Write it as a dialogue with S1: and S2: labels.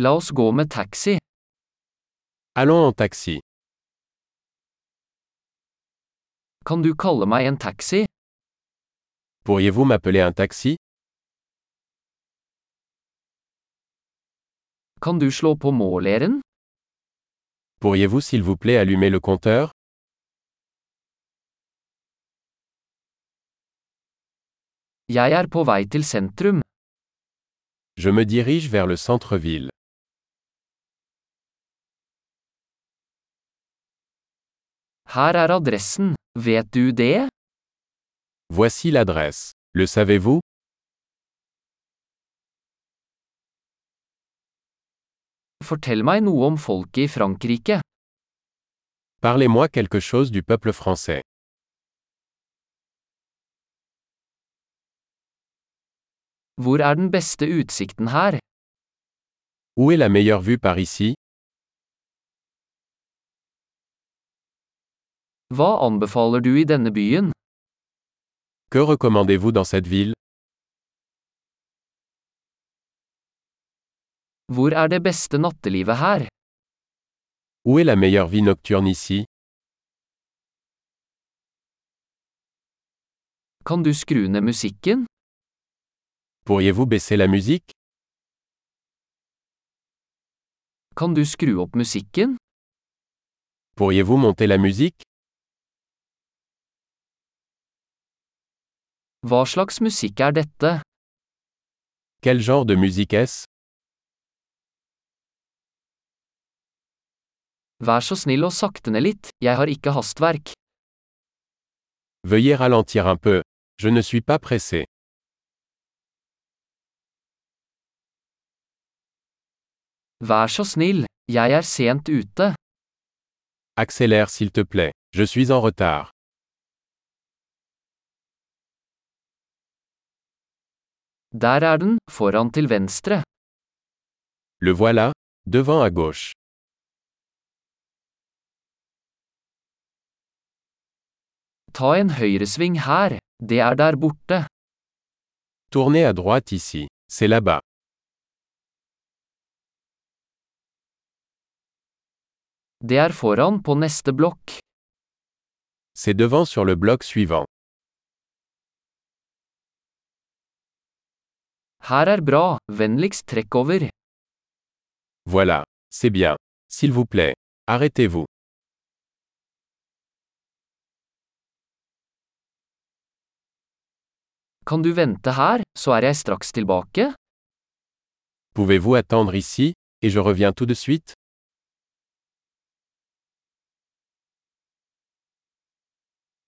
S1: La oss gå med taxi.
S2: Allons en taxi.
S1: Kan du kalle meg en taxi?
S2: Pourriez-vous m'appeler un taxi
S1: Kan du slå på måleren?
S2: Pourriez-vous s'il vous plaît allumer le compteur
S1: Jeg er på vei til sentrum.
S2: Je me dirige vers le centre-ville.
S1: Her er adressen. Vet du det?
S2: Voici l'adresse. Le savez-vous
S1: Fortell meg noe om folket i Frankrike.
S2: Parlez-moi quelque chose du peuple français.
S1: Hvor er den beste utsikten her?
S2: Où est la meilleure vue par ici
S1: Hva anbefaler du i denne byen?
S2: Que recommandez-vous dans cette ville
S1: Hvor er det beste nattelivet her?
S2: Où est la meilleure vie nocturne ici
S1: Kan du skru ned musikken?
S2: Pourriez-vous baisser la musique
S1: Kan du skru opp musikken?
S2: Pourriez-vous monter la musique
S1: Hva slags musikk er dette?
S2: Quel genre de musique est-ce
S1: Vær så snill og sakte ned litt, jeg har ikke hastverk.
S2: Veuillez ralentir un peu. Je ne suis pas pressé.
S1: Vær så snill, jeg er sent ute.
S2: Accélère s'il te plaît. Je suis en retard.
S1: Der er den, foran til venstre.
S2: Le voilà, devant à gauche.
S1: Ta en høyresving her, det er der borte.
S2: Tournez à droite ici. C'est là-bas.
S1: Det er foran på neste blokk.
S2: C'est devant sur le bloc suivant.
S1: Her er bra, vennligst trekk over.
S2: Voilà. C'est bien. S'il vous plaît. Arrêtez-vous.
S1: Kan du vente her, så er jeg straks tilbake?
S2: Pouvez-vous attendre ici, et je reviens tout de suite